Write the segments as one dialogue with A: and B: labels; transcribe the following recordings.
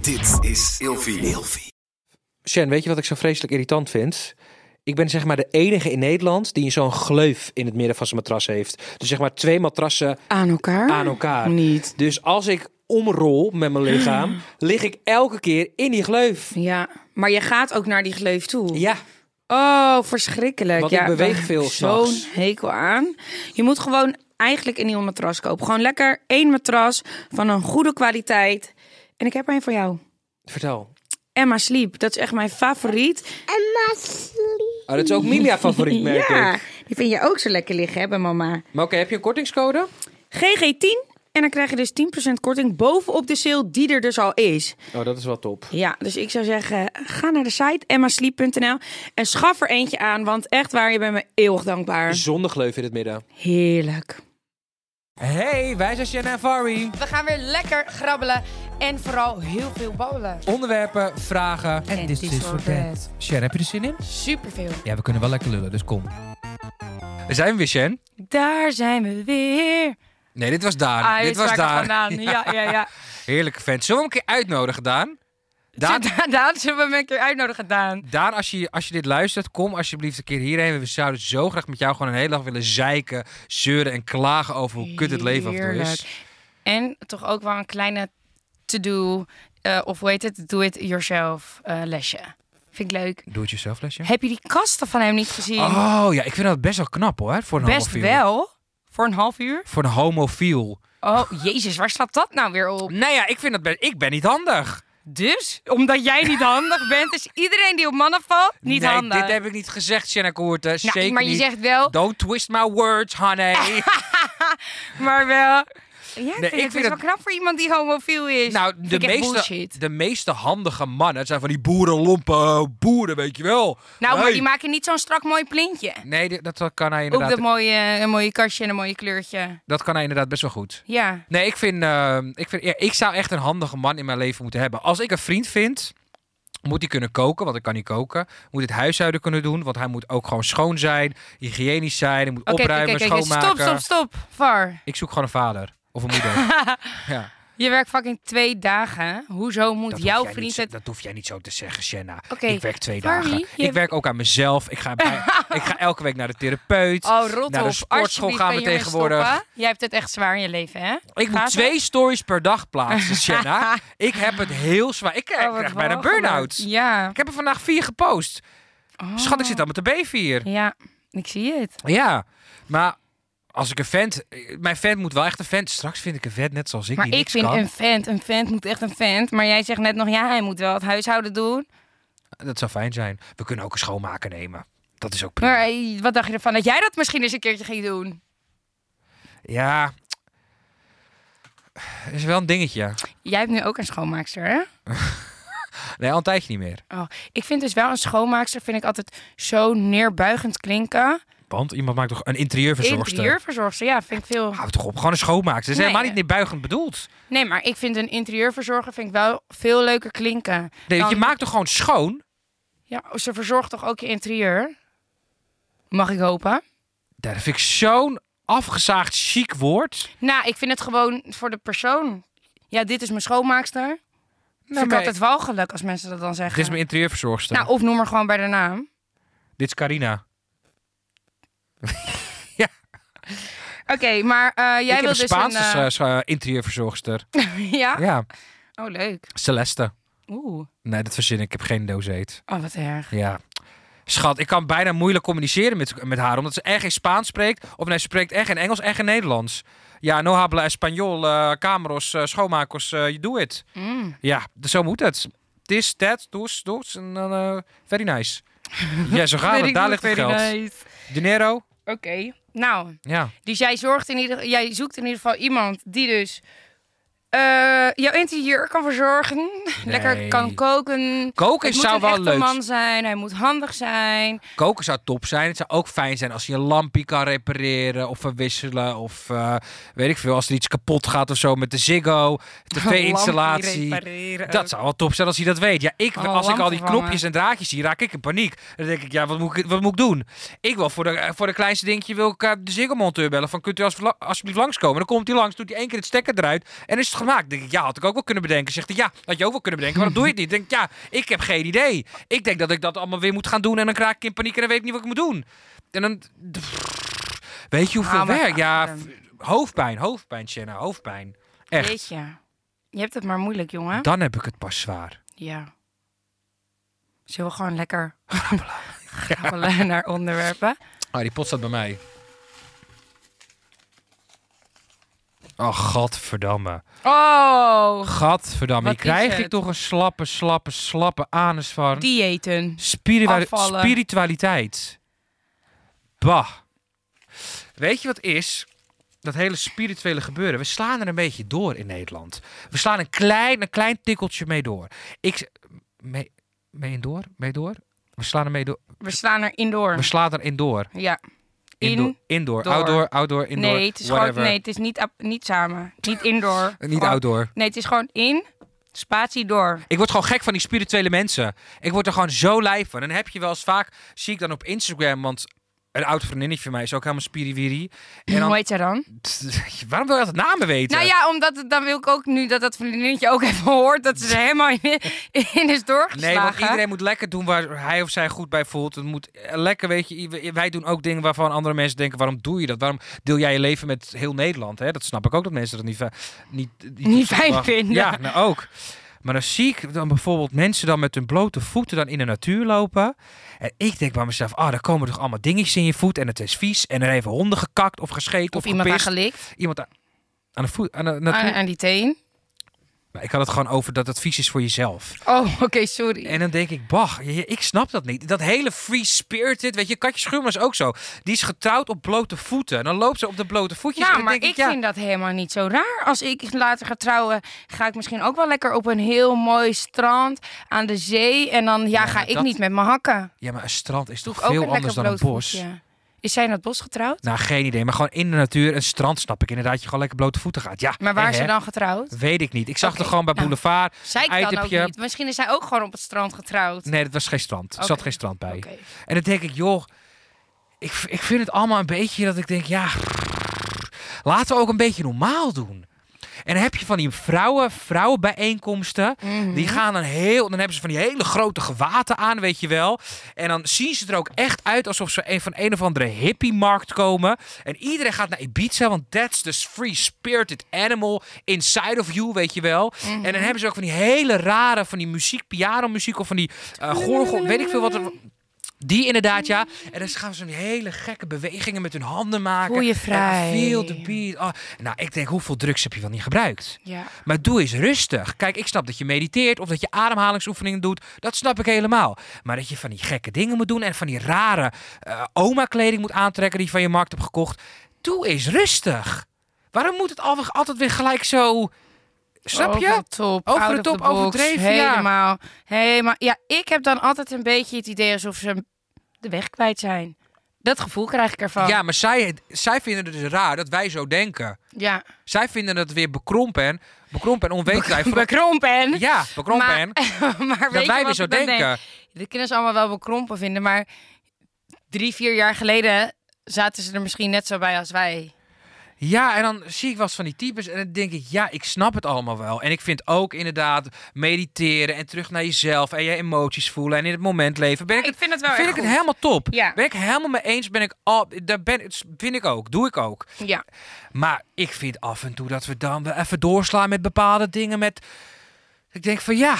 A: Dit is Ilvi.
B: Shen, weet je wat ik zo vreselijk irritant vind? Ik ben zeg maar de enige in Nederland die zo'n gleuf in het midden van zijn matras heeft. Dus zeg maar twee matrassen
C: Aan
D: Ah,
C: elkaar?
B: aan elkaar.
C: Niet.
B: Dus als ik omrol met mijn lichaam, lig ik elke keer in die gleuf.
C: Ja, maar je gaat ook naar die gleuf toe.
B: Ja,
C: Oh, verschrikkelijk.
B: Want
C: ja,
B: ik beweeg
C: daar heb
B: veel
C: ik
B: s'nachts.
C: Zo'n hekel aan. Je moet gewoon eigenlijk een nieuw matras kopen. Gewoon lekker één matras van een goede kwaliteit. En ik heb er een voor jou.
B: vertel.
C: Emma Sleep, dat is echt mijn favoriet.
B: Ah, dat is ook Milia favoriet, merk
C: ja,
B: ik.
C: die vind je ook zo lekker liggen, hè, bij mama.
B: Maar oké, heb je een kortingscode?
C: GG10. En dan krijg je dus 10% korting bovenop de sale die er dus al is.
B: Oh, dat is wel top.
C: Ja, dus ik zou zeggen, ga naar de site emmasleep.nl en schaf er eentje aan, want echt waar, je bent me eeuwig dankbaar.
B: Zonder gleuf in het midden.
C: Heerlijk.
B: Hey, wij zijn Shen en Fari.
D: We gaan weer lekker grabbelen en vooral heel veel babbelen.
B: Onderwerpen, vragen.
D: En dit is voor bed.
B: dus Shen, heb je er zin in?
D: Superveel.
B: Ja, we kunnen wel lekker lullen, dus kom. Daar zijn we weer, Shen.
D: Daar zijn we weer. Ah,
B: Nee, dit was daar.
D: je
B: Ah, dit
D: weet
B: was
D: waar ik
B: daar.
D: vandaan. Ja, ja, ja.
B: Heerlijke vent. Zullen we hem een keer uitnodigen, Daan? Daan,
D: Daan, Daan zullen we hem een keer uitnodigen, Daan.
B: Daan als, je, als je dit luistert, kom alsjeblieft een keer hierheen. We zouden zo graag met jou gewoon een hele dag willen zeiken, zeuren en klagen over hoe kut het leven af en toe is.
D: Heerlijk. En toch ook wel een kleine to-do, eh, of hoe heet het, do-it-yourself eh, lesje. Vind ik leuk.
B: Doe het jezelf, lesje.
D: Heb je die kasten van hem niet gezien?
B: Oh ja, ik vind dat best wel knap hoor, voor een
D: Best
B: homofiel.
D: wel. Voor een half uur.
B: Voor een homofiel.
D: Oh, jezus, waar slaat dat nou weer op?
B: Nou ja, ik vind dat best... Ik ben niet handig.
D: Dus, omdat jij niet handig bent, is iedereen die op mannen valt niet
B: nee,
D: handig.
B: dit heb ik niet gezegd, Jenna Koerten.
D: Nou,
B: Zeker
D: maar je
B: niet.
D: zegt wel,
B: Don't twist my words, honey.
D: maar wel. Ja, ik vind
B: ik vind
D: het best
B: het-
D: wel knap voor iemand die homofiel is.
B: nou,
D: Vind
B: de
D: ik echt
B: meeste,
D: bullshit.
B: de meeste handige mannen zijn van die boerenlompe boeren, weet je wel.
D: Nou, maar
B: Hey.
D: die maken niet zo'n strak mooi plintje.
B: Nee, dit- dat kan hij
D: Ook
B: inderdaad...
D: dat mooie, een mooie kastje en een mooie kleurtje.
B: Dat kan hij inderdaad best wel goed.
D: Ja.
B: Nee, ik vind, eh, ik vind ja, ik zou echt een handige man in mijn leven moeten hebben. Als ik een vriend vind, moet hij kunnen koken, want ik kan niet koken. Moet het huishouden kunnen doen, want hij moet ook gewoon schoon zijn, hygiënisch zijn, hij moet
D: Oké, oké,
B: opruimen,
D: oké, oké,
B: schoonmaken.
D: stop, stop, stop. Var,
B: Ik zoek gewoon een vader of een moeder. ja,
D: je werkt fucking twee dagen. Hoezo moet
B: dat hoef
D: jouw
B: jij niet
D: vriend
B: zo-
D: het...
B: dat hoef jij niet zo te zeggen, Shanna.
D: Oké,
B: ik werk twee
D: Farley,
B: dagen.
D: je-
B: Ik werk ook aan mezelf. Ik ga, bij- ik ga elke week naar de therapeut.
D: Oh, rot
B: naar
D: op.
B: de sportschool gaan
D: Alsjeblieft, kan
B: we
D: je ermee
B: tegenwoordig.
D: stoppen? Jij hebt het echt zwaar in je leven, hè?
B: Ik moet
D: Gaat
B: twee
D: het?
B: stories per dag plaatsen, Shanna. ik heb het heel zwaar. Ik krijg,
D: Oh, wat
B: krijg bijna
D: walgelijk.
B: burn-out.
D: Ja. Oh.
B: Ik heb er vandaag vier gepost. Schat, ik zit al met de B4.
D: Ja, ik zie het.
B: Ja, maar als ik een vent... Mijn vent moet wel echt een vent. Straks vind ik een vent net zoals ik,
D: Maar
B: die
D: ik
B: niks
D: vind
B: kan.
D: een vent, een vent moet echt een vent. Maar jij zegt net nog, ja, hij moet wel het huishouden doen.
B: Dat zou fijn zijn. We kunnen ook een schoonmaker nemen. Dat is ook prima.
D: Maar eh, wat dacht je ervan dat jij dat misschien eens een keertje ging doen?
B: Ja, is wel een dingetje.
D: Jij hebt nu ook een schoonmaakster, hè?
B: Nee, al een tijdje niet meer.
D: Oh, ik vind dus wel een schoonmaakster, vind ik altijd zo neerbuigend klinken.
B: Want iemand maakt toch een interieurverzorgster?
D: Interieurverzorgster, ja, vind ik veel.
B: Houd toch op, gewoon een schoonmaker. Ze is
D: Nee,
B: helemaal niet
D: eh.
B: neerbuigend bedoeld.
D: Nee, maar ik vind een interieurverzorger vind ik wel veel leuker klinken.
B: Nee, want je
D: Dan-
B: maakt toch gewoon schoon?
D: Ja, oh, ze verzorgt toch ook je interieur? Mag ik hopen?
B: Dat vind ik zo'n afgezaagd chic woord.
D: Nou, ik vind het gewoon voor de persoon. Ja, dit is mijn schoonmaakster.
B: Nou,
D: vind ik
B: maar-
D: altijd walgelijk als mensen dat dan
B: Dit
D: zeggen.
B: is mijn interieurverzorgster.
D: nou, of noem er gewoon bij de naam.
B: Dit is Carina.
D: Oké, maar eh, jij
B: ik
D: wil
B: heb
D: dus
B: een Spaanse
D: een... eh,
B: s- eh, interieurverzorgster.
D: ja?
B: Ja,
D: Oh, leuk.
B: Celeste.
D: Oeh.
B: Nee, dat verzin ik. Ik heb geen dozeet.
D: Oh, wat erg.
B: Ja. Schat, ik kan bijna moeilijk communiceren met, met haar. Omdat ze echt geen Spaans spreekt. Of nee, ze spreekt echt geen Engels en geen Nederlands. Ja, no habla español, eh cameros, eh, schoonmakers, eh, you do it.
D: Mm.
B: Ja, dus zo moet het. This, that, dus, dus. En dan, eh, very nice. Ja, zo gaat
D: Weet
B: het.
D: ik
B: Daar
D: nog,
B: ligt het
D: very
B: geld.
D: nice.
B: Dinero?
D: Oké. Nou,
B: Ja.
D: dus jij, zorgt in ieder, jij zoekt in ieder geval iemand die dus... eh, jouw interieur kan verzorgen. Lekker kan koken.
B: Koken
D: Het moet
B: zou
D: een
B: wel
D: echte
B: leuk
D: man zijn. Hij moet handig zijn.
B: Koken zou top zijn. Het zou ook fijn zijn als je een lampje kan repareren of verwisselen. Of eh, weet ik veel, als er iets kapot gaat of zo met de Ziggo.
D: Lampje
B: TV-installatie.
D: repareren.
B: Dat zou wel top zijn als hij dat weet. Ja, ik,
D: Oh,
B: als ik al die
D: lampvervanger.
B: knopjes en draadjes zie, raak ik in paniek. Dan denk ik, ja, wat moet ik, wat moet ik doen? Ik wil voor de, eh, voor de kleinste dingetje wil ik, eh, de Ziggo-monteur bellen. Van, kunt u als, alsjeblieft langskomen? Dan komt hij langs, doet hij één keer het stekker eruit. En is het gemaakt. Dan denk ik, ja, had ik ook wel kunnen bedenken. Zegt hij, ja, had je ook wel kunnen bedenken. Waarom doe je het niet? Ik denk, ja, ik heb geen idee. Ik denk dat ik dat allemaal weer moet gaan doen en dan kraak ik in paniek en dan weet ik niet wat ik moet doen. En dan... Weet je hoeveel
D: Ah, maar-
B: werk? Ja, f- hoofdpijn, hoofdpijn, Shanna, hoofdpijn. Echt.
D: Weet je. Je hebt het maar moeilijk, jongen.
B: Dan heb ik het pas zwaar.
D: Ja. Zullen we gewoon lekker grappelen naar onderwerpen?
B: Ah, die pot staat bij mij. Oh, gadverdamme.
D: Oh,
B: Gadverdamme.
D: Wat
B: Hier krijg
D: is
B: ik
D: het?
B: toch een slappe, slappe, slappe anus van.
D: diëten.
B: Spiritua-
D: Afvallen.
B: Spiritualiteit. Bah. Weet je wat is? Dat hele spirituele gebeuren. We slaan er een beetje door in Nederland. We slaan een klein, een klein tikkeltje mee door. Ik... z- Mee, mee door? Mee door? We slaan er mee door.
D: We slaan er indoor.
B: We slaan er in door.
D: Ja.
B: Indoor,
D: In.
B: indoor,
D: door.
B: outdoor, outdoor, indoor,
D: nee, het is
B: whatever.
D: gewoon, nee, het is niet, ap- niet samen. Niet indoor.
B: Niet
D: Gewoon-
B: outdoor.
D: Nee, het is gewoon in, spatie door.
B: Ik word gewoon gek van die spirituele mensen. Ik word er gewoon zo lijf van. En heb je wel eens vaak, zie ik dan op Instagram, want een oud vriendinnetje van mij is ook helemaal spiriwiri. En
D: Hoe
B: dan,
D: heet zij dan?
B: waarom wil je altijd namen weten?
D: Nou ja, omdat het- dan wil ik ook nu dat dat vriendinnetje ook even hoort dat ze er helemaal in, in is doorgeslagen.
B: Nee, want iedereen moet lekker doen waar hij of zij goed bij voelt. Het moet eh, lekker, weet je. i- Wij doen ook dingen waarvan andere mensen denken: waarom doe je dat? Waarom deel jij je leven met heel Nederland? Hè? Dat snap ik ook dat mensen dat niet, va- niet,
D: Niet fijn
B: mag-
D: vinden.
B: Ja, nou ook. Maar dan zie ik dan bijvoorbeeld mensen dan met hun blote voeten dan in de natuur lopen. En ik denk bij mezelf, ah, daar komen toch allemaal dingetjes in je voet en het is vies. En er even honden gekakt of gescheten of,
D: Of iemand Ah, daar
B: gepist.
D: gelikt.
B: Iemand aan, aan de voet, aan de natuur.
D: Aan, aan die teen.
B: Maar ik had het gewoon over dat het vies is voor jezelf.
D: Oh, oké, sorry.
B: En dan denk ik, bah, je- je- ik snap dat niet. Dat hele free-spirited, weet je, Katje Schuurman is ook zo. Die is getrouwd op blote voeten. En dan loopt ze op de blote voetjes. en
D: Nou,
B: dan
D: maar ik,
B: denk ja,
D: vind dat helemaal niet zo raar. Als ik later ga trouwen, ga ik misschien ook wel lekker op een heel mooi strand aan de zee. En dan ja,
B: Ja,
D: ga
B: maar
D: ik
B: dat-
D: niet met mijn hakken.
B: Ja, maar een strand is toch veel
D: ook een lekker
B: anders dan een bos?
D: blootvoetje. Is zij in het bos getrouwd?
B: Nou, geen idee. Maar gewoon in de natuur, een strand, snap ik inderdaad. Je gewoon lekker blote voeten gaat. Ja,
D: Maar
B: Eh,
D: waar
B: hè,
D: is ze
B: hè?
D: dan getrouwd?
B: Weet ik niet. Ik zag
D: Oké,
B: er gewoon bij
D: nou,
B: Boulevard.
D: Zij
B: een
D: kan ook
B: itemje.
D: niet. Misschien is zij ook gewoon op het strand getrouwd.
B: Nee, dat was geen strand. Er zat
D: Oké.
B: geen strand bij.
D: Oké.
B: En dan denk ik, joh, ik, v- ik vind het allemaal een beetje dat ik denk, ja, laten we ook een beetje normaal doen. En dan heb je van die vrouwen, vrouwenbijeenkomsten. Die gaan dan heel. Dan hebben ze van die hele grote gewaten aan, weet je wel. En dan zien ze er ook echt uit alsof ze een- van een of andere hippie-markt komen. En iedereen gaat naar Ibiza, want that's the free-spirited animal inside of you, weet je wel. En dan hebben ze ook van die hele rare, van die muziek, pianomuziek of van die eh gorgel, weet ik veel wat. er- die inderdaad, ja. En dan gaan ze zo'n hele gekke bewegingen met hun handen maken.
D: Voel je
B: En
D: vrij.
B: Feel the beat. Ah, Nou, ik denk, hoeveel drugs heb je wel niet gebruikt?
D: Ja.
B: Maar doe eens rustig. Kijk, ik snap dat je mediteert of dat je ademhalingsoefeningen doet. Dat snap ik helemaal. Maar dat je van die gekke dingen moet doen en van die rare eh, oma-kleding moet aantrekken die je van je markt hebt gekocht. Doe eens rustig. Waarom moet het al- altijd weer gelijk zo... Snap je?
D: Over de top,
B: Over de
D: out of
B: top,
D: the box,
B: overdreven, ja.
D: helemaal. Helemaal. Ja, ik heb dan altijd een beetje het idee alsof ze de weg kwijt zijn. Dat gevoel krijg ik ervan.
B: Ja, maar zij, zij vinden het dus raar dat wij zo denken.
D: ja.
B: Zij vinden het weer bekrompen en, bekrompen en onwetend. zijn. Vooral-
D: Bekrompen.
B: Ja, bekrompen
D: Maar-
B: en.
D: maar weet
B: Dat
D: je
B: wij weer
D: wat
B: zo
D: ik dan denk?
B: denken.
D: Dat kunnen ze allemaal wel bekrompen vinden, maar drie, vier jaar geleden zaten ze er misschien net zo bij als wij.
B: Ja, en dan zie ik wel eens van die types en dan denk ik, ja, ik snap het allemaal wel. En ik vind ook inderdaad mediteren en terug naar jezelf en je emoties voelen en in het moment leven. Ben ik,
D: vind het wel
B: vind ik het helemaal top.
D: Ja.
B: Ben ik helemaal mee eens, ben ik al, daar ben, vind ik ook, doe ik ook.
D: Ja.
B: Maar ik vind af en toe dat we dan wel even doorslaan met bepaalde dingen. Met... Ik denk van ja.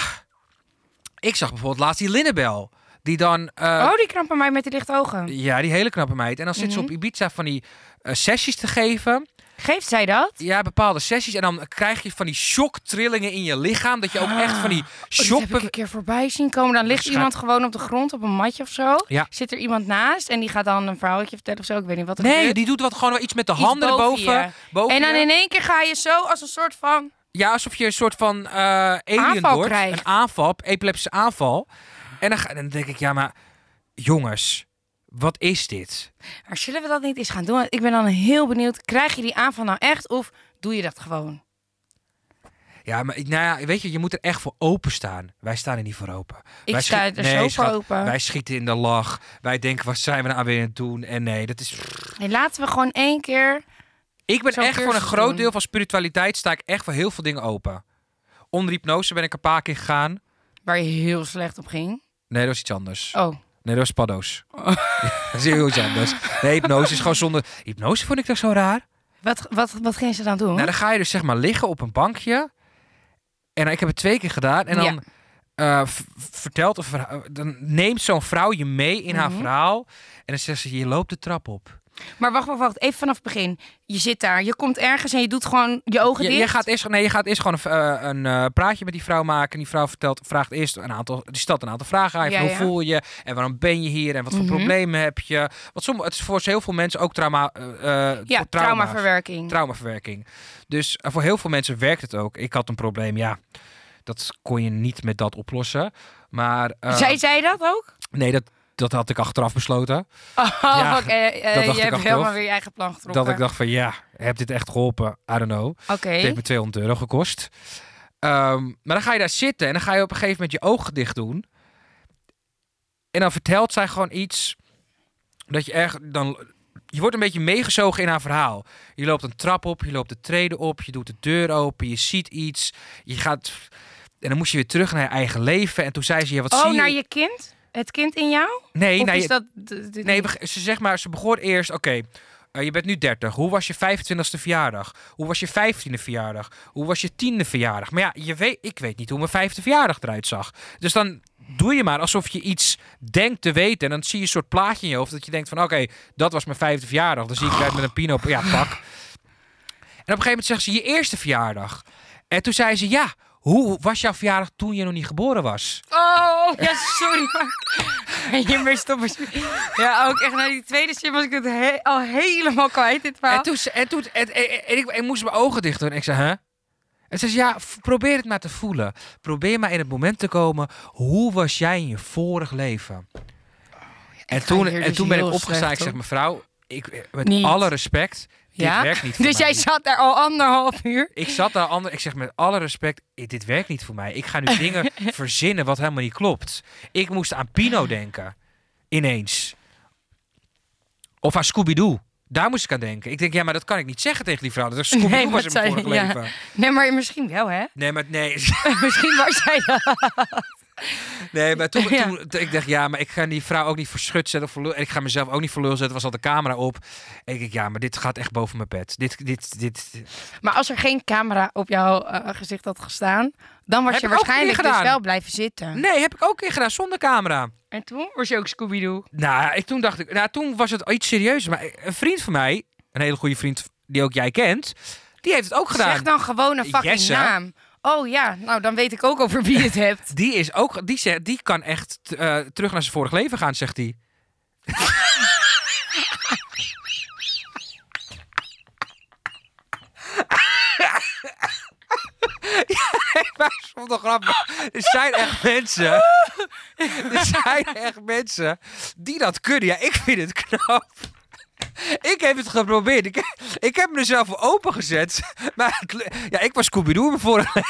B: Ik zag bijvoorbeeld laatst die Linnebel. Die dan. eh,
D: oh, die krampen mij met die lichte ogen.
B: Ja, die hele knappe meid. En dan zit ze
D: Mhm.
B: op Ibiza van die eh, sessies te geven.
D: Geeft zij dat?
B: Ja, bepaalde sessies. En dan krijg je van die shocktrillingen in je lichaam. Dat je ook echt van die
D: Oh,
B: shock...
D: dat heb ik een keer voorbij zien komen. Dan ligt
B: Waarschijn-
D: iemand gewoon op de grond op een matje of zo.
B: Ja.
D: Zit er iemand naast en die gaat dan een verhaaltje vertellen of zo. Ik weet niet wat er
B: Nee,
D: gebeurt.
B: die doet wat gewoon iets met de
D: Iets
B: handen
D: boven
B: erboven.
D: je.
B: boven
D: En dan
B: je.
D: in één keer ga je zo als een soort van...
B: Ja, alsof je een soort van eh, alien
D: Aanval
B: wordt.
D: krijgt.
B: Een aanval, epileptische aanval. En dan, ga- dan denk ik, ja, maar jongens, wat is dit?
D: Maar zullen we dat niet eens gaan doen? Want Ik ben dan heel benieuwd. Krijg je die aanval nou echt of doe je dat gewoon?
B: Ja, maar ik- nou ja, weet je, je moet er echt voor openstaan. Wij staan er niet voor open.
D: Ik
B: wij
D: sta
B: schiet-
D: er
B: nee,
D: zo voor
B: schat,
D: open.
B: Wij schieten in de lach. Wij denken, wat zijn we nou weer aan het doen? En nee, dat is...
D: Nee, laten we gewoon één keer...
B: Ik ben
D: Zo'n
B: echt voor een
D: cursus
B: groot
D: doen.
B: deel van spiritualiteit sta ik echt voor heel veel dingen open. onder hypnose ben ik een paar keer gegaan.
D: Waar je heel slecht op ging.
B: Nee, dat was iets anders.
D: Oh,
B: Nee, dat was paddo's. dat is heel iets anders. Nee, hypnose is gewoon zonder... Hypnose vond ik toch zo raar?
D: wat, wat, wat ging ze dan doen?
B: Nou, dan ga je dus zeg maar liggen op een bankje. En dan- ik heb het twee keer gedaan. En dan
D: Ja.
B: eh, v- vertelt een verhaal- dan neemt zo'n vrouw je mee in haar
D: Mhm.
B: verhaal. En dan zegt ze, je loopt de trap op.
D: Maar wacht, wacht, wacht. Even vanaf het begin. Je zit daar, je komt ergens en je doet gewoon je ogen
B: Je,
D: dicht.
B: je, gaat eerst, nee, je gaat eerst gewoon een, eh, een eh, praatje met die vrouw maken. En die vrouw vertelt, vraagt eerst een aantal, die stelt een aantal vragen aan je.
D: Ja,
B: van, hoe
D: ja.
B: voel je? En waarom ben je hier? En wat voor
D: Mhm.
B: problemen heb je? Want sommige, het is voor heel veel mensen ook trauma, eh, eh,
D: ja,
B: trauma's.
D: traumaverwerking.
B: traumaverwerking. Dus eh, voor heel veel mensen werkt het ook. Ik had een probleem, ja. Dat kon je niet met dat oplossen. Maar eh,
D: Zij zei dat ook?
B: nee, dat, dat had ik achteraf besloten.
D: Oh,
B: Ja,
D: oké. eh, eh,
B: dat dacht ik
D: je hebt
B: achteraf.
D: helemaal weer je eigen plan getrokken.
B: Dat ik dacht van ja, heb dit echt geholpen? I don't know.
D: Oké.
B: Het heeft me 200 euro gekost. Ehm, maar dan ga je daar zitten en dan ga je op een gegeven moment je ogen dicht doen. En dan vertelt zij gewoon iets dat je erg dan. Je wordt een beetje meegezogen in haar verhaal. Je loopt een trap op, je loopt de treden op, je doet de deur open, je ziet iets. Je gaat. En dan moest je weer terug naar je eigen leven. En toen zei ze: ja, wat zie
D: Oh,
B: je?
D: naar je kind? Het kind in jou?
B: Nee,
D: of
B: naar
D: is
B: je-
D: dat... d- d-
B: Nee, beg- ze zeg maar, ze begon eerst, oké, eh, je bent nu 30. Hoe was je 25ste verjaardag? Hoe was je 15e verjaardag? Hoe was je 10e verjaardag? Maar ja, je weet, ik weet niet hoe mijn vijfde verjaardag eruit zag. Dus dan doe je maar alsof je iets denkt te weten. En dan zie je een soort plaatje in je hoofd dat je denkt van, oké, dat was mijn vijfde verjaardag. Dan zie ik eruit met een pino, ja, pak. En op een gegeven moment zegt ze, je eerste verjaardag. En toen zei ze, ja, hoe was jouw verjaardag toen je nog niet geboren was?
D: Oh, ja, sorry. Maar... je meer stoppen. Ja, ook echt naar die tweede zin was ik het he- al helemaal kwijt, dit verhaal.
B: En toen, ze- en toen en, en- en- en ik, ik moest mijn ogen dicht doen en ik zei, hè? En ze zei, ja, f- probeer het maar te voelen. Probeer maar in het moment te komen, hoe was jij in je vorig leven? en
D: ga
B: toen,
D: hier
B: en
D: dus
B: toen ben ik
D: heel
B: opgestaan, ik
D: slecht
B: zeg,
D: op.
B: mevrouw, ik, eh, met
D: Niet.
B: alle respect,
D: Ja?
B: dit werkt niet voor
D: dus
B: mij.
D: jij zat daar al anderhalf uur.
B: Ik zat daar ander, ik zeg met alle respect, i- dit werkt niet voor mij. Ik ga nu dingen verzinnen wat helemaal niet klopt. Ik moest aan Pino denken, ineens. Of aan Scooby-Doo. Daar moest ik aan denken. Ik denk, ja, maar dat kan ik niet zeggen tegen die vrouw. Dat is Scooby-Doo
D: Nee,
B: was in
D: wat
B: mijn
D: zei-
B: vorige
D: ja.
B: leven.
D: Nee, maar misschien wel, hè?
B: Nee, maar nee.
D: misschien was jij dat.
B: Nee, maar toen,
D: Ja.
B: toen, ik dacht, ja, maar ik ga die vrouw ook niet voor schut zetten. Of voor lul- en ik ga mezelf ook niet voor lul zetten. Was al de camera op. En ik denk, ja, maar dit gaat echt boven mijn pet. Dit, dit, dit.
D: Maar als er geen camera op jouw eh, gezicht had gestaan, dan was
B: Heb
D: je
B: ik ook
D: waarschijnlijk
B: niet
D: dus
B: gedaan.
D: wel blijven zitten.
B: Nee, heb ik ook een keer gedaan zonder camera.
D: En toen was je ook Scooby-Doo.
B: Nou, ik, toen dacht ik, nou, toen was het iets serieuzer. Maar een vriend van mij, een hele goede vriend die ook jij kent, die heeft het ook gedaan.
D: Zeg dan gewoon een fucking
B: Jesse.
D: naam. Oh ja, nou dan weet ik ook over wie je het hebt.
B: Die is ook, die, zegt, die kan echt eh, terug naar zijn vorig leven gaan, zegt hij. Ja, maar zonder grap. Er zijn echt mensen. Er zijn echt mensen die dat kunnen. Ja, ik vind het knap. Ik heb het geprobeerd. Ik, ik heb me er zelf voor opengezet. Maar het lu- ja, ik was Scooby-Doo in mijn vorige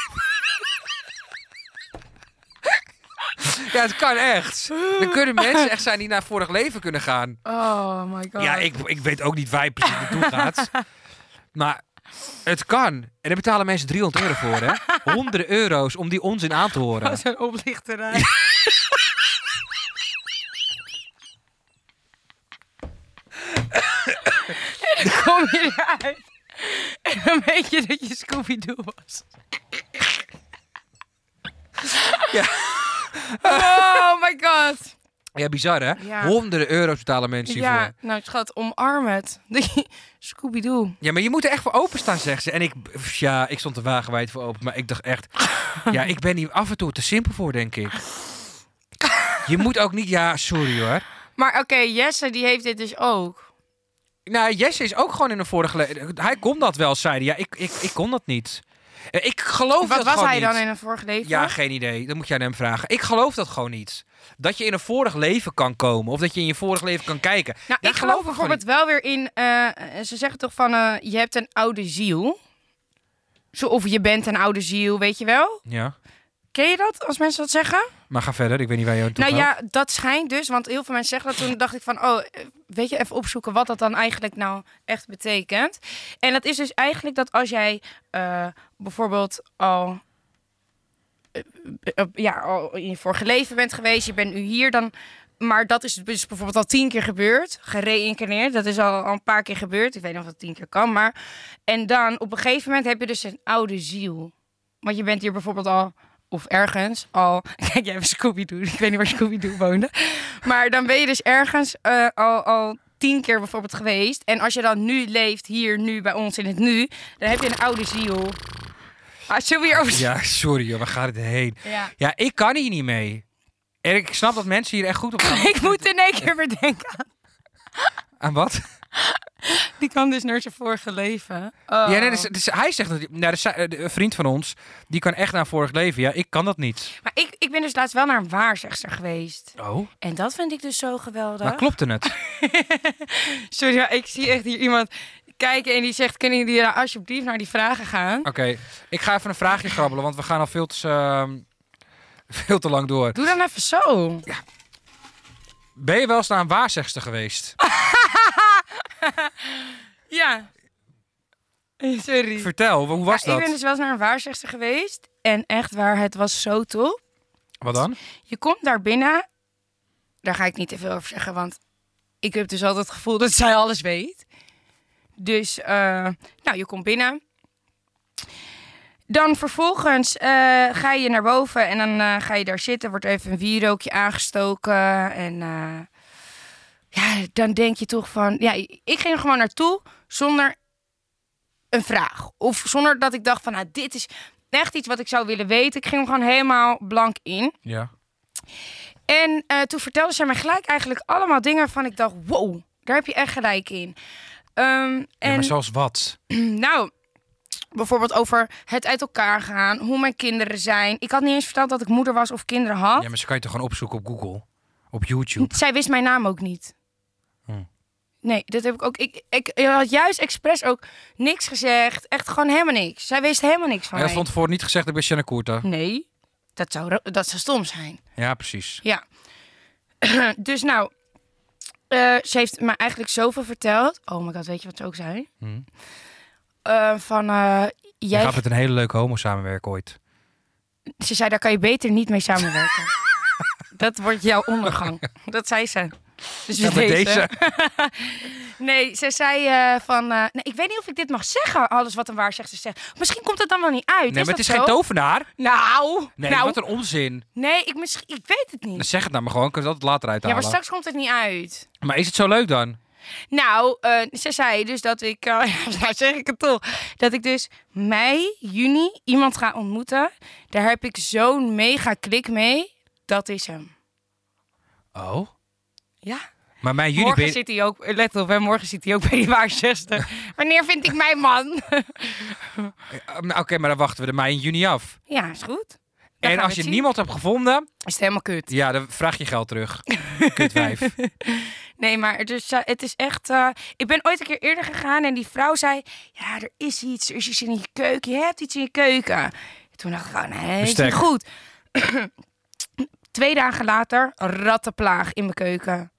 B: Ja, het kan echt. Er kunnen mensen echt zijn die naar vorig leven kunnen gaan.
D: Oh my god.
B: Ja, ik, ik weet ook niet waar je precies naartoe gaat. Maar het kan. En daar betalen mensen 300 euro voor, hè? Honderden euro's om die onzin aan te horen.
D: was een oplichterij. en dan kom je eruit. En dan weet je dat je Scooby-Doo was.
B: Ja.
D: Oh my god.
B: Ja, bizar, hè?
D: Ja.
B: Honderden euro's betalen mensen hiervoor.
D: Ja,
B: Ja.
D: nou schat, omarm het. Scooby-Doo.
B: maar je moet er echt voor openstaan, zegt ze. En ik, pff, ja, ik stond er wagenwijd voor open. Maar ik dacht echt, ja, ik ben hier af en toe te simpel voor, denk ik. Je moet ook niet, ja, sorry hoor.
D: Maar oké, Jesse die heeft dit dus ook.
B: Nou, Jesse is ook gewoon in een vorige... le- Hij kon dat wel, zei hij. Ja, ik, ik, ik kon dat niet. Eh, Ik geloof
D: Wat
B: dat
D: was
B: gewoon
D: hij
B: niet.
D: dan in een vorige leven?
B: Ja, geen idee. Dat moet je aan hem vragen. Ik geloof dat gewoon niet. Dat je in een vorig leven kan komen. Of dat je in je vorig leven kan kijken.
D: nou,
B: Ja,
D: ik geloof
B: ik gewoon
D: bijvoorbeeld wel weer in. eh, ze zeggen toch van eh, je hebt een oude ziel. Zo, of je bent een oude ziel, weet je wel?
B: Ja,
D: Ken je dat als mensen dat zeggen?
B: maar ga verder. Ik weet niet waar je aan toe
D: nou
B: gaat.
D: ja, dat schijnt dus, want heel veel mensen zeggen dat. Toen dacht ik van, oh, eh, weet je, even opzoeken wat dat dan eigenlijk nou echt betekent. En dat is dus eigenlijk dat als jij eh, bijvoorbeeld al eh, ja, al in je vorige leven bent geweest, je bent nu hier, dan... Maar dat is dus bijvoorbeeld al tien keer gebeurd, gereïncarneerd. Dat is al, al een paar keer gebeurd. Ik weet niet of dat tien keer kan, maar... En dan, op een gegeven moment heb je dus een oude ziel. Want je bent hier bijvoorbeeld al... Of ergens al... Kijk, jij hebt Scooby-Doo. Ik weet niet waar Scooby-Doo woonde. Maar dan ben je dus ergens eh, al, al tien keer bijvoorbeeld geweest. En als je dan nu leeft, hier, nu, bij ons, in het nu... Dan heb je een oude ziel. Ah, zullen we hierover...
B: Ja, sorry joh, waar gaat het heen?
D: Ja.
B: Ja, ik kan hier niet mee. En ik snap dat mensen hier echt goed op gaan.
D: Ik moet in één keer bedenken.
B: Aan wat?
D: Die kan dus naar zijn vorige leven.
B: Ja, nee, dus, dus hij zegt dat. Nou, dus, zij- eh, de- een vriend van ons, die kan echt naar vorig leven. Ja, ik kan dat niet.
D: Maar ik, ik ben dus laatst wel naar een waarzegster geweest.
B: Oh.
D: En dat vind ik dus zo geweldig.
B: Maar klopte het?
D: Sorry, ja, ik zie echt hier iemand kijken en die zegt... Kunnen jullie daar alsjeblieft naar die vragen gaan?
B: Oké, ik ga even een vraagje grabbelen, want we gaan al veel te, ehm, veel te lang door.
D: Doe dan even zo.
B: Ben je wel eens naar een waarzegster geweest?
D: Ah. Ja. Sorry.
B: Vertel, hoe was
D: Ja, ik ben
B: dat?
D: dus wel eens naar een waarzegster geweest. En echt waar, het was zo top.
B: Wat dan?
D: Je komt daar binnen. Daar ga ik niet te veel over zeggen, want ik heb dus altijd het gevoel dat zij alles weet. Dus, eh, nou, je komt binnen. Dan vervolgens eh, ga je naar boven en dan eh, ga je daar zitten. Wordt even een wierookje aangestoken. En eh, ja, dan denk je toch van... Ja, ik ging er gewoon naartoe zonder een vraag. Of zonder dat ik dacht van, nou, dit is echt iets wat ik zou willen weten. Ik ging hem gewoon helemaal blank in.
B: Ja.
D: En eh, toen vertelde zij mij gelijk eigenlijk allemaal dingen waarvan ik dacht, wow, daar heb je echt gelijk in. Ehm,
B: ja maar
D: en
B: zoals wat?
D: nou, bijvoorbeeld over het uit elkaar gaan, hoe mijn kinderen zijn. Ik had niet eens verteld dat ik moeder was of kinderen had.
B: Ja, maar ze kan je toch gewoon opzoeken op Google? Op YouTube?
D: Zij wist mijn naam ook niet.
B: Hm.
D: Nee, dat heb ik ook. Ik, ik, ik had juist expres ook niks gezegd. Echt gewoon helemaal niks. Zij wist helemaal niks van
B: Hij had
D: mij.
B: van tevoren niet gezegd, ik ben Shanna Koerta.
D: Nee, dat zou, ro- dat zou stom zijn.
B: Ja, precies.
D: Ja. dus nou, eh, ze heeft me eigenlijk zoveel verteld. Oh my god, weet je wat ze ook zei?
B: Hm.
D: Eh, van, eh,
B: Je
D: jij,
B: gaat met een hele leuke homo samenwerken ooit.
D: ze zei, daar kan je beter niet mee samenwerken. dat wordt jouw ondergang. dat zei ze. Dus
B: Ja,
D: met
B: met
D: deze.
B: deze.
D: Nee, ze zei eh, van, eh, nee, ik weet niet of ik dit mag zeggen, alles wat een waarzegster zegt. Misschien komt het dan wel niet uit.
B: Nee, maar
D: dat
B: het is
D: zo?
B: geen tovenaar.
D: Nou,
B: Nee,
D: nou,
B: wat een onzin.
D: nee ik, misschien, ik weet het
B: Dan
D: niet.
B: zeg het nou maar gewoon, kunnen we dat later
D: Ja,
B: uithalen.
D: maar straks komt het niet uit.
B: Maar is het zo leuk dan?
D: Nou, eh, ze zei dus dat ik, eh, nou zeg ik het toch, dat ik dus mei, juni iemand ga ontmoeten. Daar heb ik zo'n mega klik mee. Dat is hem.
B: Oh.
D: Ja.
B: Maar mijn juni
D: morgen
B: ben je...
D: zit hij ook, eh, let op, hè, morgen zit hij ook bij die waar 60. Wanneer vind ik mijn man?
B: Eh, nou, Oké, maar dan wachten we er maar in juni af.
D: ja, is goed. Dan gaan
B: en
D: we
B: als
D: het
B: je
D: zien.
B: niemand hebt gevonden,
D: Is het helemaal kut.
B: ja, dan vraag je geld terug. Kutwijf.
D: Nee, maar dus, eh, het is echt... eh, ik ben ooit een keer eerder gegaan en die vrouw zei... Ja, er is iets, er is iets in je keuken. Je hebt iets in je keuken. Toen dacht ik, oh nee, is
B: Bestek.
D: niet goed. Twee dagen later, rattenplaag in mijn keuken.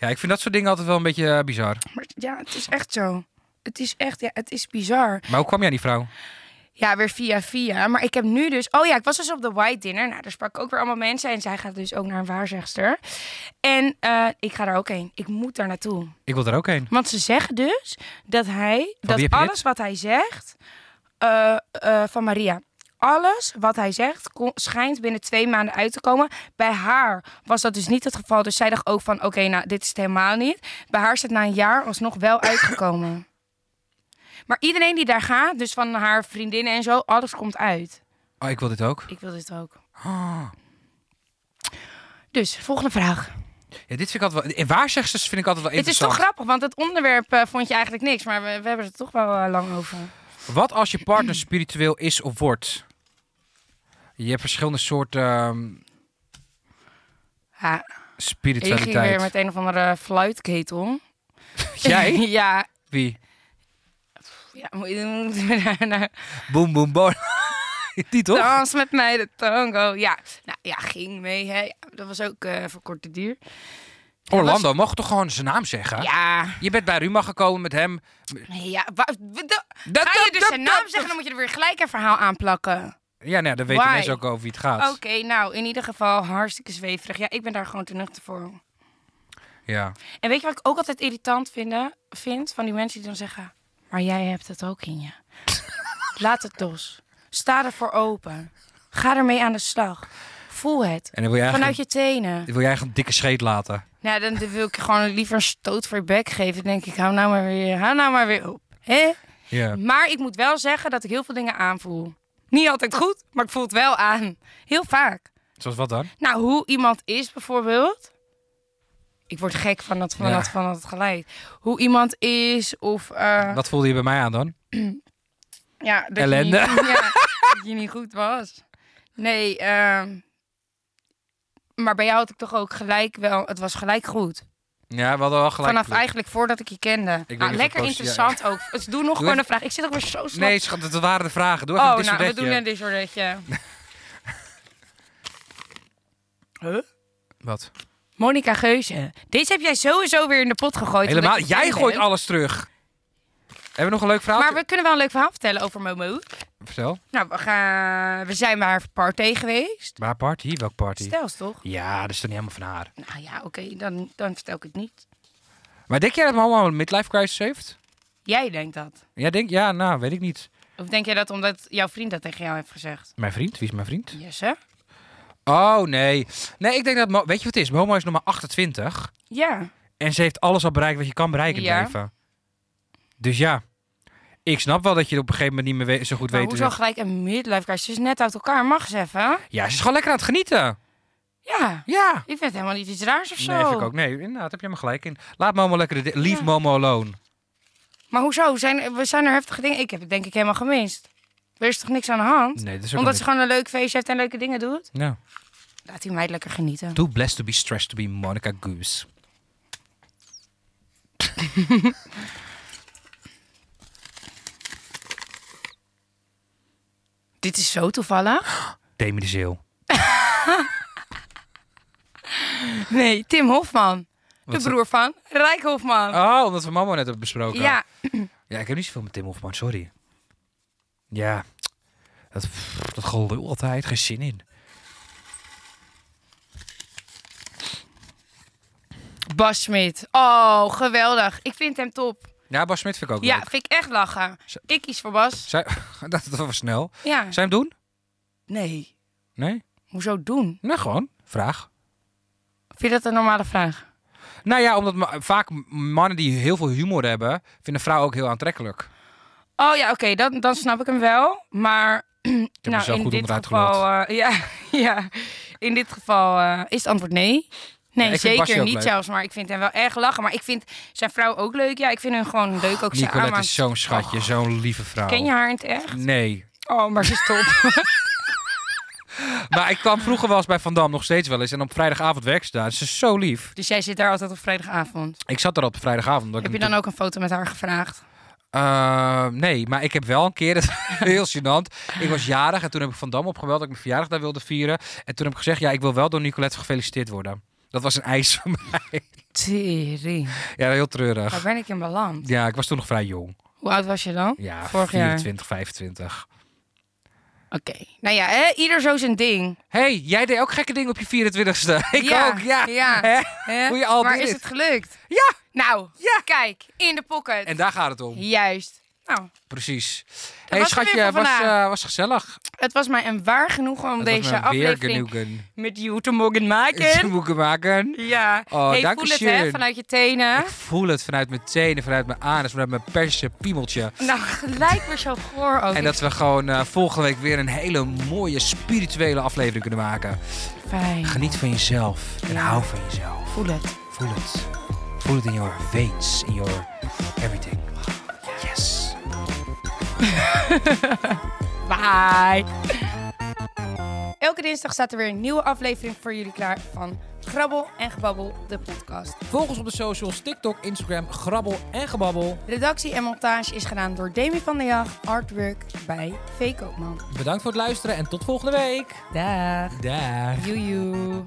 B: Ja, ik vind dat soort dingen altijd wel een beetje eh, bizar.
D: Maar ja, het is echt zo. Het is echt, ja, het is bizar.
B: Maar hoe kwam jij aan die vrouw?
D: Ja, weer via via. Maar ik heb nu dus... Oh ja, ik was dus op de White Dinner. Nou, daar sprak ik ook weer allemaal mensen. En zij gaat dus ook naar een waarzegster. En eh, ik ga daar ook heen. Ik moet daar naartoe.
B: Ik wil er ook heen.
D: Want ze zeggen dus dat hij,
B: wie heb
D: dat
B: je dit?
D: alles wat hij zegt, eh, eh, van Maria, alles wat hij zegt ko- schijnt binnen twee maanden uit te komen. Bij haar was dat dus niet het geval. Dus zij dacht ook van, oké, nou, dit is het helemaal niet. Bij haar is het na een jaar alsnog wel uitgekomen. Maar iedereen die daar gaat, dus van haar vriendinnen en zo, alles komt uit.
B: Oh, ik wil dit ook.
D: Ik wil dit ook.
B: Ah.
D: Dus, volgende vraag.
B: Ja, dit vind ik altijd wel... En waarzegsters vind ik altijd wel
D: Het is toch
B: interessant.
D: grappig, want het onderwerp eh, vond je eigenlijk niks. Maar we, we hebben het er toch wel eh, lang over.
B: Wat als je partner spiritueel is of wordt? Je hebt verschillende soorten ehm,
D: Ja, Ik ging weer
B: spiritualiteit.
D: met een of andere fluitketel.
B: Jij?
D: ja.
B: Wie?
D: ja moet je- nou,
B: Boom, boom, boom. die toch?
D: dans met Nou, mij de tango. Ja, nou, ja ging mee. Hè. Ja, dat was ook eh, voor korte duur.
B: Orlando mocht toch gewoon zijn naam zeggen?
D: Ja.
B: Je bent bij Ruma gekomen met hem.
D: ja wa- wa- da-
B: Dat-
D: ga je
B: dat-
D: dus
B: dat-
D: zijn
B: dat-
D: naam zeggen, dan moet je er weer gelijk een verhaal aan plakken.
B: Ja, nee, dan weten
D: Why?
B: mensen ook over wie het gaat.
D: Oké, nou, in ieder geval hartstikke zweverig. Ja, ik ben daar gewoon te nuchter voor.
B: Ja.
D: En weet je wat ik ook altijd irritant vind, vind van die mensen die dan zeggen... Maar jij hebt het ook in je. Laat het los. Sta ervoor open. Ga ermee aan de slag. Voel het.
B: En dan wil je eigenlijk,
D: Vanuit je tenen.
B: wil je eigenlijk een dikke scheet laten.
D: Nou, dan dan wil ik je gewoon liever een stoot voor je bek geven. Dan denk ik, hou nou maar weer, hou nou maar weer op. Hè?
B: Ja.
D: Maar ik moet wel zeggen dat ik heel veel dingen aanvoel. Niet altijd goed, maar ik voel het wel aan. Heel vaak.
B: Zoals wat dan?
D: Nou, hoe iemand is bijvoorbeeld. Ik word gek van dat, van
B: Ja.
D: dat, van dat geluid. Hoe iemand is of... eh,
B: Wat voelde je bij mij aan dan?
D: ja, dat je
B: ellende.
D: niet- ja, dat je niet goed was. Nee, ehm, maar bij jou had ik toch ook gelijk wel... Het was gelijk goed.
B: Ja, we hadden wel gelijk.
D: Vanaf eigenlijk voordat ik je kende.
B: denk
D: Ah,
B: dat
D: lekker
B: dat-
D: interessant ook. Dus doe nog gewoon
B: even-
D: een vraag. Ik zit ook weer zo slap.
B: Nee, schat, dat waren de vragen. Doe even
D: oh,
B: een
D: nou, we
B: disordetje.
D: doen een disordetje. huh?
B: Wat?
D: Monica Geuze. Deze heb jij sowieso weer in de pot gegooid.
B: Helemaal.
D: omdat je fan
B: Jij gooit
D: bent.
B: alles terug. Hebben we nog een leuk verhaal?
D: Maar we kunnen wel een leuk verhaal vertellen over Momo.
B: Vertel.
D: Nou, we, gaan... we zijn bij haar party geweest.
B: Waar party? Welk party?
D: Stels toch?
B: Ja, dat is toch niet helemaal van haar.
D: Nou ja, oké, dan, dan vertel ik het niet.
B: Maar denk jij dat Momo een midlife crisis heeft?
D: Jij denkt dat.
B: Ja, denk, ja, nou, weet ik niet.
D: Of denk jij dat omdat jouw vriend dat tegen jou heeft gezegd?
B: Mijn vriend? Wie is mijn vriend?
D: Jesse?
B: Oh, nee. Nee, ik denk dat... Mo- Weet je wat het is? Momo is nog maar 28.
D: Ja.
B: En ze heeft alles al bereikt wat je kan bereiken in
D: Ja.
B: het leven. Dus ja. Ik snap wel dat je het op een gegeven moment niet meer we- zo goed
D: Maar
B: weet.
D: Nou, hoezo gelijk een midlife crisis? Ze is net uit elkaar, mag ze even?
B: Ja, ze is gewoon lekker aan het genieten.
D: Ja.
B: Ja.
D: Ik vind helemaal niet iets raars of zo.
B: Nee, vind ik ook. Nee, inderdaad, heb je me gelijk in. Laat Momo lekker... de- Leave Momo alone.
D: Maar hoezo? Zijn, we zijn er heftige dingen. Ik heb het denk ik helemaal gemist. Er is toch niks aan de hand?
B: Nee, dat is ook
D: Omdat
B: wel
D: ze gewoon een leuk feestje heeft en leuke dingen doet?
B: niet- Ja.
D: Laat die meid lekker genieten.
B: Too blessed to be stressed to be Monica Goose.
D: Dit is zo toevallig.
B: Demi de Zeeuw.
D: Nee, Tim Hofman. De
B: Wat ze-
D: broer van Rijk Hofman.
B: Oh, omdat we Momo net hebben besproken.
D: Ja,
B: Ja, ik heb niet zoveel met Tim Hofman, sorry. Ja, dat, dat gelul altijd, geen zin in.
D: Bas Smit. Oh, geweldig. Ik vind hem top.
B: Ja, Bas Smit vind ik ook
D: ja,
B: leuk.
D: vind ik echt lachen.
B: Ze-
D: Ik kies voor Bas.
B: Zij, dat, dat was snel.
D: Ja.
B: Zijn hem doen?
D: Nee.
B: Nee?
D: Hoezo doen?
B: Nou, gewoon. Vraag.
D: Vind je dat een normale vraag?
B: Nou ja, omdat ma- vaak mannen die heel veel humor hebben, vinden vrouwen ook heel aantrekkelijk.
D: Oh ja, oké, dan, dan snap ik hem wel. Maar
B: heb
D: nou,
B: mezelf
D: in
B: goed
D: dit
B: onderuit
D: geval, eh, ja, ja, in dit geval eh, is het antwoord nee. Nee,
B: Ja, ik vind Basje
D: zeker
B: ook
D: niet
B: leuk.
D: zelfs. Maar ik vind hem wel erg lachen. Maar ik vind zijn vrouw ook leuk. Ja, ik vind hem gewoon leuk. Ook zijn
B: Nicolette
D: aanmaak.
B: is zo'n schatje, zo'n lieve vrouw.
D: Ken je haar in het echt?
B: Nee.
D: Oh, maar ze is top.
B: Maar ik kwam vroeger wel eens bij Van Dam, nog steeds wel eens. En op vrijdagavond werkte ze daar. Ze is zo lief.
D: dus jij zit daar altijd op vrijdagavond.
B: Ik zat daar op vrijdagavond. omdat ik
D: Heb je
B: natuurlijk-
D: dan ook een foto met haar gevraagd?
B: Eh, nee, maar ik heb wel een keer, dat is heel gênant. Ik was jarig en toen heb ik Van Dam opgebeld dat ik mijn verjaardag daar wilde vieren. En toen heb ik gezegd, ja, ik wil wel door Nicolette gefeliciteerd worden. Dat was een eis voor mij.
D: Tering.
B: Ja, heel treurig.
D: Waar ben ik in beland?
B: Ja, ik was toen nog vrij jong.
D: Hoe oud was je dan?
B: Ja,
D: Vorig jaar.
B: 24, 25.
D: Oké. Nou ja, hè? ieder zo zijn ding.
B: hey, jij deed ook gekke dingen op je 24ste. Ik
D: Ja,
B: ook, ja.
D: ja.
B: Hè?
D: Hè?
B: Hoe je al
D: maar
B: deed
D: is
B: het.
D: het gelukt?
B: Ja.
D: Nou,
B: Ja.
D: kijk, in de pocket.
B: En daar gaat het om.
D: Juist. Nou,
B: Precies. hey,
D: was het weer
B: schatje,
D: voor
B: was,
D: vandaag.
B: eh, was gezellig.
D: het was mij een waar genoegen om
B: Het was
D: deze
B: me weer
D: aflevering
B: genoegen.
D: met jou te mogen
B: Ze
D: maken.
B: moeten maken.
D: Ja.
B: Oh,
D: hey,
B: dank
D: voel
B: je
D: het hè,
B: zeer.
D: vanuit je tenen.
B: Ik voel het vanuit mijn tenen, vanuit mijn anus, vanuit mijn persje, piemeltje.
D: Nou, gelijk weer zo goor ook.
B: En dat we gewoon eh, volgende week weer een hele mooie spirituele aflevering kunnen maken.
D: Fijn.
B: Geniet van jezelf en
D: Ja.
B: hou van jezelf.
D: Voel het.
B: Voel het. Voel het in your veins, in your everything. Yes.
D: Bye. Elke dinsdag staat er weer een nieuwe aflevering voor jullie klaar van Grabbel en Gebabbel, de podcast.
B: Volg ons op de socials, TikTok, Instagram, grabbel en gebabbel.
D: Redactie en montage is gedaan door Demi van der Jag, artwork bij V. Koopman.
B: Bedankt voor het luisteren en tot volgende week.
D: Dag.
B: Dag.
D: Joejoe.